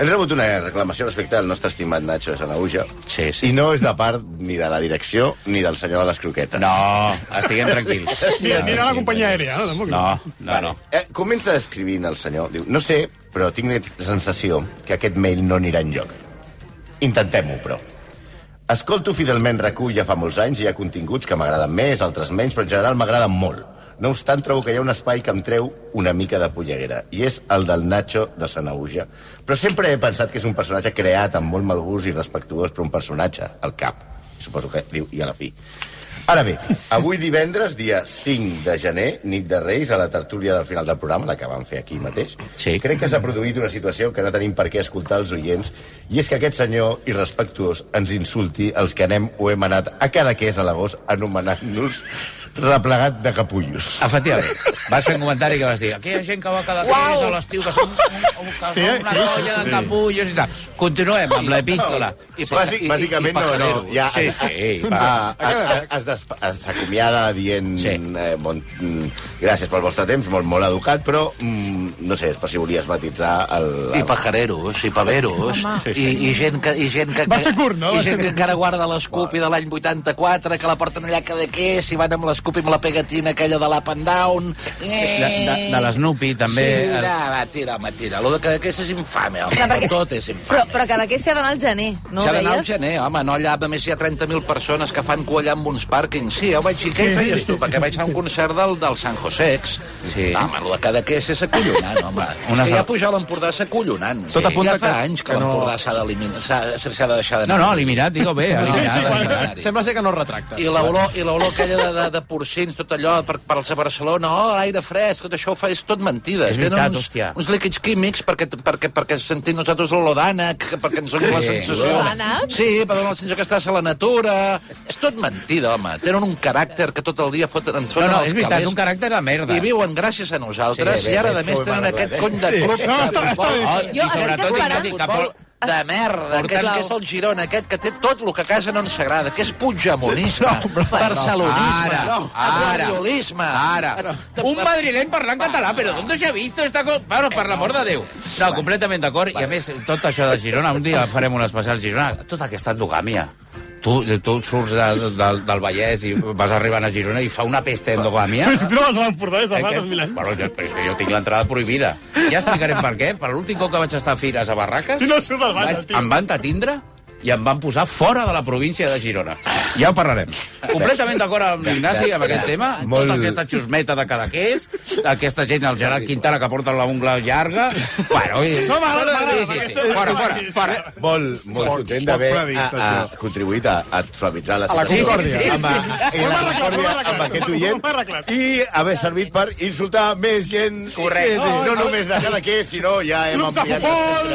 L: Hem rebut una reclamació respecte al nostre estimat Nacho de Sanaúja.
G: Sí,
L: sí. I no és de part ni de la direcció ni del senyor de les croquetes.
G: No, estiguem tranquils.
H: Ni, ni de la companyia aèria, no? Tampoc.
G: no, vale. no.
L: Eh, comença escrivint el senyor. Diu, no sé, però tinc la sensació que aquest mail no anirà enlloc. Intentem-ho, però. Escolto fidelment RAC1 ja fa molts anys i hi ha continguts que m'agraden més, altres menys, però en general m'agraden molt. No obstant, trobo que hi ha un espai que em treu una mica de polleguera, i és el del Nacho de Sanauja. Però sempre he pensat que és un personatge creat amb molt mal gust i respectuós, però un personatge, al cap. Suposo que diu, i a la fi. Ara bé, avui divendres, dia 5 de gener, nit de Reis, a la tertúlia del final del programa, la que vam fer aquí mateix, sí. crec que s'ha produït una situació que no tenim per què escoltar els oients, i és que aquest senyor irrespectuós ens insulti els que anem o hem anat a Cadaqués a l'agost anomenant-nos replegat de capullos.
G: Efectivament. Vas fer un comentari que vas dir... Aquí hi ha gent que va cada wow. a l'estiu, que són que
L: Sí,
G: sí, una sí,
L: sí, sí,
G: colla
L: sí.
G: de capullos i tal. Continuem amb l'epístola.
L: I, Bàsic, bàsicament, no, no. Ja,
G: sí, sí.
L: a-
G: Va.
L: a- a- es desp- es s'acomiada dient sí. eh, bon, mm, gràcies pel vostre temps, molt, molt educat, però mm, no sé, és per si volies matitzar el...
E: I pajareros, i paveros, i, i gent que... I gent que
L: Va ser curt, no?
E: I
L: Va ser
E: gent que
L: curt.
E: encara guarda l'escupi de l'any 84, que la porten allà cada que és, i van amb l'escupi amb la pegatina aquella de l'up and down.
G: De, de, de l'Snoopy, també...
E: Sí, tira, va, tira, home, tira. Lo de que, que és infame, home.
F: perquè-
E: Tot és infame.
F: Però, però cada que s'ha d'anar al gener, no
E: No S'ha
F: ho
E: d'anar al
F: deies?
E: gener, home, no allà, a més hi ha 30.000 persones que fan cua allà amb uns pàrquings. Sí, ja ho vaig dir, què hi feies tu? Perquè vaig anar a un concert del, del San Josex. Sí. No, home, el de cada que és és acollonant,
G: <laughs>
E: home.
G: Una
E: Una és
G: sal-
E: que ja pujar a l'Empordà és acollonant.
G: Tot apunta
E: ja fa
G: que-
E: anys que,
G: que no-
E: l'Empordà s'ha d'eliminar, s'ha- s'ha de deixar d'anar.
G: No, no, eliminat, digo bé, eliminat. eliminat.
A: Sembla, sembla ser que no es retracta.
E: I l'olor i l'olor aquella de, de, de porcins, tot allò, per, per als de Barcelona, oh, aire fresc, tot això ho fa, és tot mentida.
G: És veritat,
E: Tenen uns,
G: hòstia.
E: uns líquids químics perquè, perquè, perquè sentim nosaltres l'olor d'ànec, que- perquè ens doni la
G: Sí.
E: sensació...
G: Olor d'ànec?
E: Sí, per donar la sensació que estàs a la natura... És tot mentida, home. Tenen un caràcter que tot el dia foten, ens
G: No,
E: foten
G: no,
E: als
G: és veritat,
E: calés
G: un caràcter de merda.
E: i viuen gràcies a nosaltres,
G: Sí,
E: sí,
G: bé,
E: i ara,
G: bé,
E: a més,
G: molt
E: tenen
G: maladona,
E: aquest
G: eh?
E: cony de
G: Sí.
E: club...
G: No, està-
E: de
G: està bé.
E: futbol.
G: Jo estic
E: sobretot
G: esperant-
E: aquest futbol de merda, que és, que és el Girona aquest, que té tot el que a casa no ens agrada, que és pujamonisme, no, barcelonisme,
G: Ara,
E: no,
G: ara,
E: guardiolisme.
G: Ara. Un madrileny parlant català, però d'on s'ha vist? Esta co... Bueno, per l'amor de Déu. No, completament d'acord. I a més, tot això de Girona, un dia farem un especial Girona, tota aquesta endogàmia. Tu, tu surts de, de, del Vallès i vas arribant a Girona i fa una pesta endogàmia.
H: Però si tu no vas a l'Empordà des de fa
G: Eh, que-
H: 2.000 anys.
G: Bueno, jo, però és que jo tinc l'entrada prohibida. Ja explicarem per què. Per l'últim cop que vaig estar a Fires a Barraques...
H: Si no surt del Bages,
G: vaig,
H: tio.
G: em van tatindre i em van posar fora de la província de Girona. Ja ho parlarem. Completament d'acord amb l'Ignasi amb aquest tema. Molt... Tota aquesta xusmeta de Cadaqués, aquesta gent, el Gerard Quintana, que porta la ungla llarga... Bueno, i...
H: No, m'agrada, m'agrada,
G: sí, sí, sí.
H: m'agrada.
G: Fora, fora, fora.
L: Molt, molt content d'haver
G: poc previst,
L: a- a- contribuït a, a suavitzar la
H: A la
L: situació.
H: concòrdia. Sí, sí,
L: Amb,
H: sí, sí.
L: a- i
H: Ho hem
L: la
H: arreglat, ho hem
L: concòrdia
H: arreglat.
L: amb aquest
H: Ho hem
L: oient i haver servit per insultar més gent.
E: Correcte.
L: Sí, sí.
E: No,
L: Oh, No,
E: no.
L: només de cada que, sinó ja hem ampliat...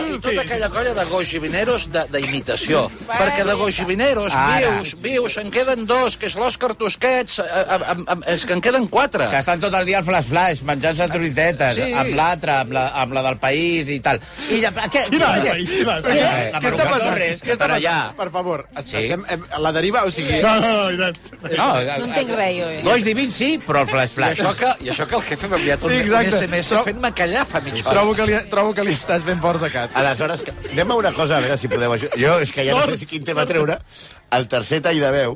E: I tota aquella colla de goixivineros de- d'imitació, jo. Perquè de Goixineros,
Q: Ara.
E: vius, vius, en queden dos, que és l'Òscar Tusquets, eh, a, a, a, a, és que en queden quatre.
Q: Que estan tot el dia al flash-flash, menjant-se truitetes,
E: Sí.
Q: sí. amb l'altre, amb, la, amb la del país i tal. I ja, què,
A: Quina del
Q: què-
A: país?
Q: Quina
A: Què-
Q: La
A: què està
Q: Maruca
A: passant?
Q: Torres,
A: Què
Q: que
A: està
Q: estarà allà.
A: passant? Per favor, es-
Q: Sí.
A: estem em- a la deriva, o sigui...
Q: No, no, no, No,
F: No entenc res, jo. eh?
Q: Goix divins sí, però el flash-flash.
E: I això que, i això que el jefe m'ha enviat
A: Sí,
E: un, un
A: exacte.
E: SMS
A: Trobo-
E: fent-me callar fa mitja hora.
A: Trobo que, li, trobo que li estàs ben fort secat.
L: Aleshores, que- anem a una cosa, a veure si podeu ajudar. Jo és que ja no sé
A: Sort.
L: si quin tema treure. El tercer tall de veu,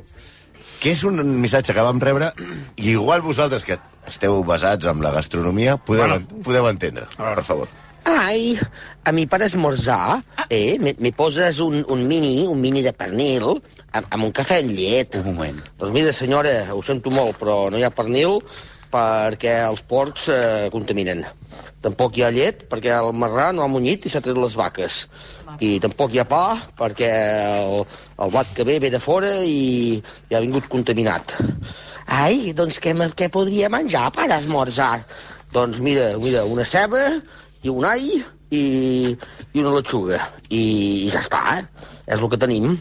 L: que és un missatge que vam rebre, i igual vosaltres que esteu basats en la gastronomia, podeu, bueno. podeu entendre, per favor.
R: Ai, a mi per esmorzar, eh, me, me poses un, un mini, un mini de pernil, amb, amb un cafè amb llet. Un moment. Doncs mira, senyora, ho sento molt, però no hi ha pernil perquè els porcs eh, contaminen. Tampoc hi ha llet perquè el marrà no ha munyit i s'ha tret les vaques. I tampoc hi ha pa perquè el, el blat que ve ve de fora i, i ha vingut contaminat. Ai, doncs què, me- què podria menjar per esmorzar? Doncs mira, mira, una ceba i un all i, i una lechuga. I, i ja està, eh? és el que tenim.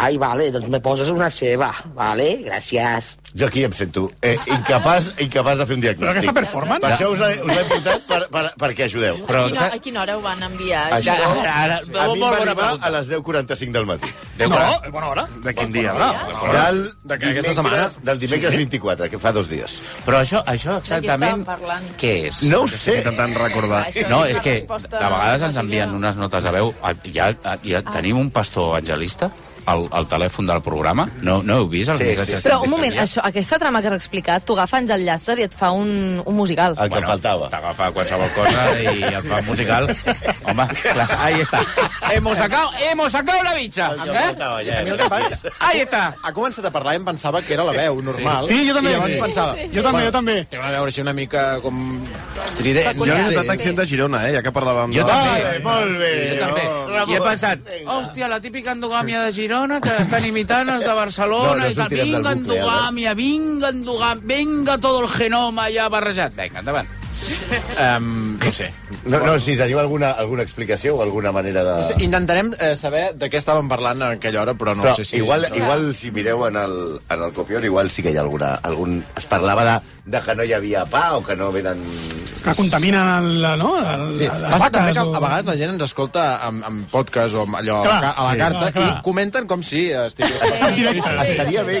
R: Ai, vale, doncs me poses una ceba, vale? Gràcies.
L: Jo aquí em sento eh, incapaç, incapaç de fer un diagnòstic.
R: Però aquesta performance?
L: Per això us l'he us l'he portat per, per, perquè ajudeu.
I: Però, a, quina, a quina hora ho van enviar?
L: Això, ara, ara,
I: Sí.
L: a mi em va arribar a les 10.45 del matí.
I: No,
L: bona hora. De
I: quin dia? Bona hora.
L: Del,
A: De que aquesta
L: dimecres,
A: setmana?
L: del dimecres 24, que fa dos dies.
Q: Però això, això
L: exactament,
Q: Què és?
L: No ho sé.
B: Intentant recordar.
G: No, és que de vegades ens envien unes notes de veu. Ah, Ja, ja tenim un pastor evangelista al, al telèfon del programa. No, no heu vist els
L: Sí, sí,
G: missatges? que
F: Però,
G: ens
F: un moment,
G: envien?
F: això, aquesta trama que has explicat, tu agafa Àngel Llàcer i et fa un, un musical.
E: Ah,
L: El que bueno, faltava.
G: T'agafa qualsevol cosa i et fa un musical. Home, clar, ahí està. Hemos sacado, hemos sacado la bitxa.
L: faltava,
A: A mi Eh? el que fa és...
Q: Ahí està!
A: Ha començat a parlar i em pensava que era la veu normal.
H: Sí, jo també.
A: I llavors
H: Sí.
A: pensava...
H: Sí, sí. Jo també, jo també.
A: Té una veu així una mica com... Estrident.
B: Jo he notat accent de Girona, eh, ja que parlàvem...
A: Jo
B: de-
A: també.
B: Vale,
L: molt bé.
B: Jo també.
Q: I he pensat,
N: Hòstia, la típica endogàmia de Girona, que estan imitant els de
Q: No,
N: Barcelona
Q: no
N: i tal.
Q: sortirem del
N: Vinga,
Q: bucle, ara.
L: eh?
N: endogàmia, vinga, endogàmia, vinga tot el genoma ja barrejat.
G: Vinga, endavant.
Q: Um,
G: no sé.
L: No, no, si teniu alguna, alguna explicació o alguna manera de...
A: No sé, Intentarem eh, saber de què estàvem parlant a aquella hora, però no
L: Però
A: sé si...
L: igual, igual si mireu en el, en el copión, igual sí que hi ha alguna... Algun... Es parlava de, de que no hi havia pa o que no venen...
H: Que contaminen la, no? La, la,
A: Sí.
H: la,
A: Passa també que a vegades la gent ens escolta amb, amb podcast o amb allò clar,
H: Clar,
A: a la
H: sí.
A: carta
H: Ah, clar.
A: i comenten com si
H: <laughs>
A: estigués...
L: Ah, Estaria bé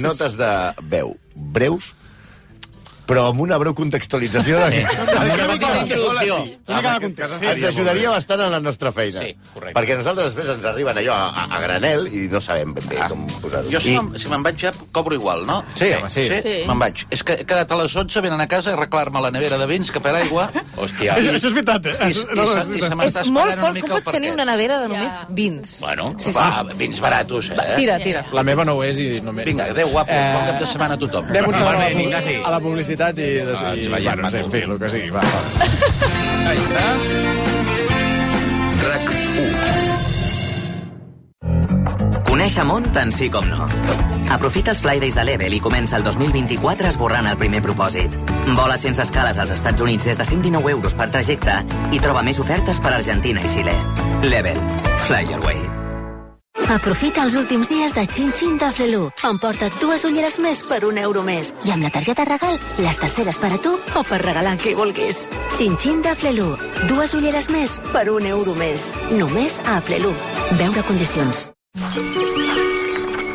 L: notes de veu breus, però amb una breu contextualització de... Ens ajudaria bastant a la nostra feina. Sí, Perquè nosaltres després ens arriben allò a, a, a granel i no sabem ben bé com posar-ho.
E: Jo si me'n si me'n vaig ja cobro igual, no?
L: Sí, home, sí.
E: sí.
L: Sí.
E: Me'n vaig. És que he quedat a les 11, venen a casa a arreglar-me la nevera de vins, que per aigua... Hòstia.
H: Això- això és veritat, eh?
E: I, i,
H: Això-
E: se-
H: no, no, és
E: i se
H: veritat.
E: m'està
F: És molt
E: esperant una
F: fort com
E: mica el
F: pots tenir
E: perquè.
F: una nevera de només vins.
E: Bueno, va, vins baratos, eh?
F: Tira, tira.
A: La meva no ho és i només...
E: Vinga, adéu, guapos,
A: Eh,
E: bon cap de setmana a tothom.
A: Anem un segon a la,
E: Igualment,
A: publi-
E: Ignasi.
A: a la publicitat i... Des...
E: Ah, ens
A: i
E: veiem,
A: bueno, no sé, en fi, el que sigui, va. va.
S: Conèixer món tant sí com no. Aprofita els Flydays de l'Evel i comença el 2024 esborrant el primer propòsit. Vola sense escales als Estats Units des de 119 euros per trajecte i troba més ofertes per Argentina i Xile. L'Evel. Fly your way.
T: Aprofita els últims dies de Chin Chin de Flelu. Emporta't dues ulleres més per un euro més. I amb la targeta regal, les terceres per a tu o per regalar a qui vulguis. Chin Chin de Flelu. Dues ulleres més per un euro més. Només a Flelu. Veure condicions.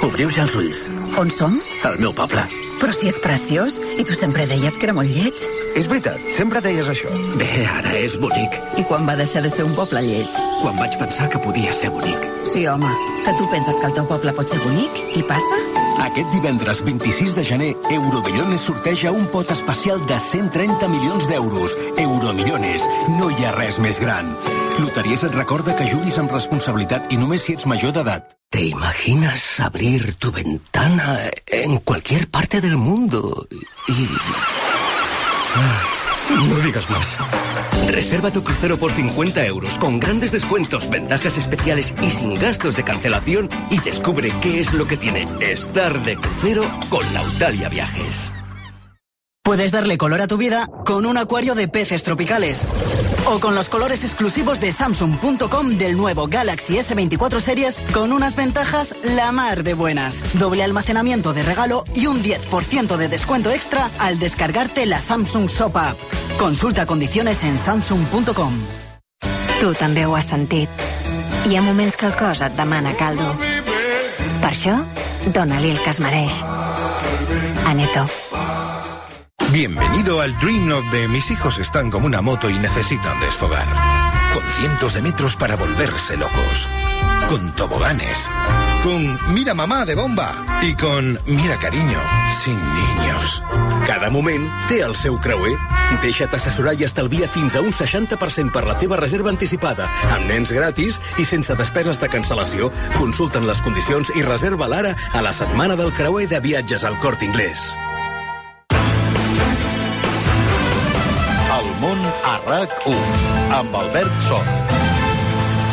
U: Obriu ja els ulls.
T: On som?
U: El meu poble.
T: Però si és preciós, i tu sempre deies que era molt lleig.
U: És veritat, sempre deies això. Bé, ara és bonic.
T: I quan va deixar de ser un poble lleig?
U: Quan vaig pensar que podia ser bonic.
T: Sí, home, que tu penses que el teu poble pot ser bonic i passa?
V: Aquest divendres 26 de gener, Euromillones sorteja un pot especial de 130 milions d'euros. Euromillones, no hi ha res més gran. Loteries et recorda que juguis amb responsabilitat i només si ets major d'edat.
U: ¿Te imaginas abrir tu ventana en cualquier parte del mundo y... Ah, No digas más. Reserva tu crucero por 50 euros con grandes descuentos, ventajas especiales y sin gastos de cancelación y descubre qué es lo que tiene estar de crucero con Lautalia Viajes.
W: Puedes darle color a tu vida con un acuario de peces tropicales. O con los colores exclusivos de Samsung.com del nuevo Galaxy S24 Series con unas ventajas la mar de buenas. Doble almacenamiento de regalo y un 10% de descuento extra al descargarte la Samsung Shop App. Consulta condiciones en Samsung.com.
T: Tu també ho has sentit. Hi ha moments que el cos et demana caldo. Per això, dona-li el que es mereix. Aneto.
J: Bienvenido al Dream of de Mis hijos están como una moto y necesitan desfogar. Con cientos de metros para volverse locos. Con toboganes. Con Mira mamá de bomba. I con Mira cariño, sin niños.
V: Cada moment té el seu creuer. Deixa't assessorar i estalvia fins a un 60% per la teva reserva anticipada, amb nens gratis i sense despeses de cancel·lació. Consulta'n les condicions i reserva l'ara a la setmana del creuer de viatges al Cort Inglés.
L: El món a RAC1, amb Albert Sor.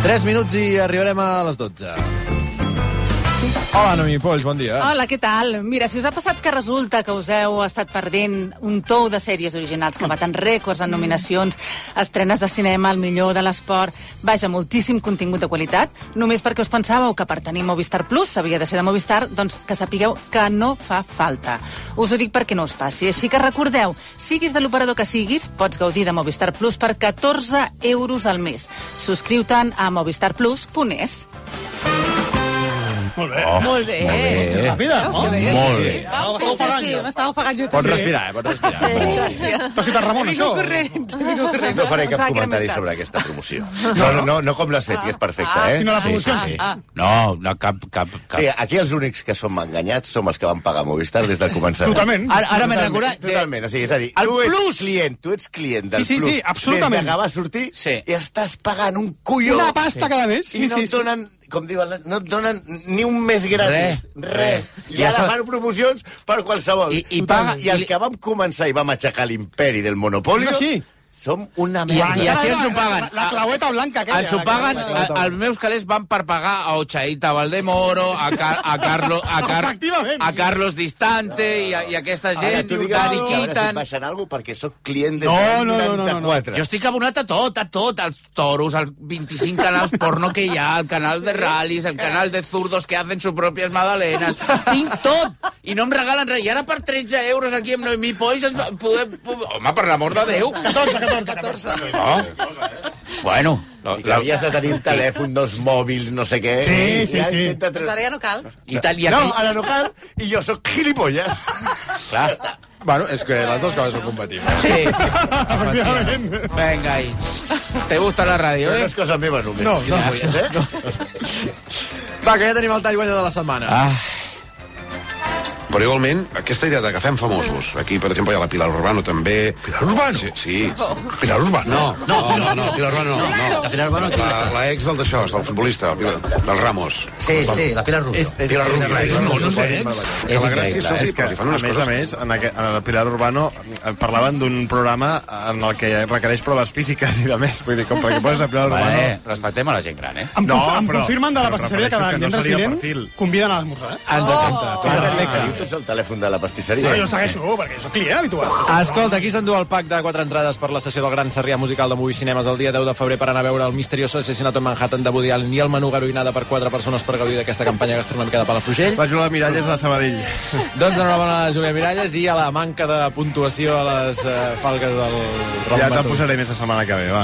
A: 3 minuts i arribarem a les 12. Hola, Noemi Polls, bon dia.
X: Hola, què tal? Mira, si us ha passat que resulta que us heu estat perdent un tou de sèries originals que baten rècords en nominacions, estrenes de cinema, el millor de l'esport, vaja, moltíssim contingut de qualitat, només perquè us pensàveu que per tenir Movistar Plus s'havia de ser de Movistar, doncs que sapigueu que no fa falta. Us ho dic perquè no us passi. Així que recordeu, siguis de l'operador que siguis, pots gaudir de Movistar Plus per 14 euros al mes. Subscriu-te'n a movistarplus.es.
H: Molt bé.
X: Oh, Molt bé. molt bé.
H: Ràpida, no?
X: Molt bé.
H: Molt bé.
X: Sí, sí, sí, m'estava ofegant jo.
H: Pots respirar, eh? Pots respirar. Sí,
X: gràcies.
H: T'has fet a Ramon,
X: Vingut
H: això?
X: corrents, vingut
D: <laughs>
X: corrents.
L: No faré
X: Pensava
L: cap
X: que era
L: comentari
X: més
L: sobre aquesta promoció. No, no, no, no com l'has fet, que és perfecte, eh?
X: Ah,
L: No, no, cap, cap, cap. Sí, Eh, aquí els únics que som enganyats som els que van pagar Movistar des del començament.
H: Totalment.
L: Ara, ara m'he
H: Totalment,
L: recordat... Totalment, o sigui, és a dir,
H: El
L: tu ets
H: plus!
L: client, tu ets client del
H: Sí, sí, sí,
L: plus.
H: absolutament.
L: Des que va sortir sí. i estàs pagant un colló.
H: Una pasta cada mes, sí,
L: I no
H: sí,
L: et
H: sí.
L: donen, com diu l'Alan, no et donen ni un mes gratis.
H: Res,
L: Res. I
H: Ja
L: ara
H: s'ha-
L: fan promocions per qualsevol. I, i, paga, I els que vam començar i vam aixecar l'imperi del monopoli...
H: És així.
L: Som una
G: I,
L: merda.
G: i així ens ho paguen.
H: Ah, La, la claueta blanca aquella.
G: Ens ho
H: la
G: paguen,
H: claueta
G: a- els meus calés van per pagar a Ochaita Valdemoro, a, Car a, Carlo, a, Car a Carlos Distante i, a, i aquesta
L: Ara
G: gent,
L: tu digues
G: Dani
L: que ara si
G: Quitan...
L: baixarà alguna perquè sóc client de
G: No, no, no, no, no, no.
L: 94.
G: Jo estic abonat a tot, a tot, als toros, als 25 canals porno que hi ha, al canal de rallies, al canal de zurdos que hacen sus propias magdalenas. Tinc tot! I no em regalen res. I ara per 13 euros aquí amb Noemí Poix ens podem... Home, per l'amor de Déu!
X: 14, 14, 14.
G: No? Bueno,
L: No, I que havies de tenir el telèfon, dos mòbils, no sé què. eh?
X: Sí, sí,
L: I ara
X: sí.
L: intenta
X: Doncs
L: treure-
X: ara ja no cal.
G: I tal, i
L: No,
G: aquell-
L: ara no cal, i jo sóc gilipolles.
G: Clar.
A: Bueno, és que les dues coses són compatibles.
G: Sí. Venga, ahí. Te gusta la ràdio,
L: Però
G: eh?
L: no
A: Doncs
L: és cosa meva, només.
A: No, no,
L: Gilipolles, eh?
A: Va, que ja tenim el tall guanya de la setmana.
G: Ah.
D: Però igualment, aquesta idea de que fem famosos, aquí, per exemple, hi ha la Pilar Urbano, també... Pilar Urbano? Sí. sí. Pilar Urbano? No, no, no, no, Pilar Urbano, no. no. La Pilar Urbano, la, la ex del d'això, del futbolista, el Pilar, del Ramos.
B: Sí, sí, la Pilar Rubio.
D: És, és, Pilar Rubio. És, no, no sé.
G: eh?
D: Que la gràcia és que, que, fan
B: a
D: unes
B: més a
D: coses...
B: més, en, aquest, en el Pilar Urbano eh, parlaven d'un programa en el que requereix proves físiques i de més. Vull dir, com perquè poses a Pilar
G: Bueno,
B: Urbano...
G: eh, respectem a la gent gran, eh?
H: Em, no, em confirmen de la
B: però
H: pastisseria que,
B: refereixo
H: que divendres
B: seria
H: vinent
B: perfil.
H: conviden a l'esmorzar. Eh?
A: Ens encanta.
L: Perfecte. Tens el telèfon de la
H: Sí,
L: pastisseria.
H: jo segueixo, perquè jo soc client habitual.
A: Escolta, aquí s'endú el pack de quatre entrades per la sessió del Gran Sarrià Musical de Movie Cinemes el dia 10 de febrer per anar a veure el misterioso assassinato en Manhattan de Woody Allen i el menú garoinada per quatre persones per gaudir d'aquesta campanya gastronòmica de Palafrugell.
B: La Júlia Miralles de Sabadell.
A: Doncs enhorabona a la Júlia Miralles i a la manca de puntuació a les eh, falques del Ramon
B: Ja te'n
A: Batull.
B: posaré més la setmana que ve, va.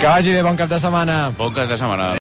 A: Que vagi bé, bon cap de setmana.
G: Bon cap de setmana.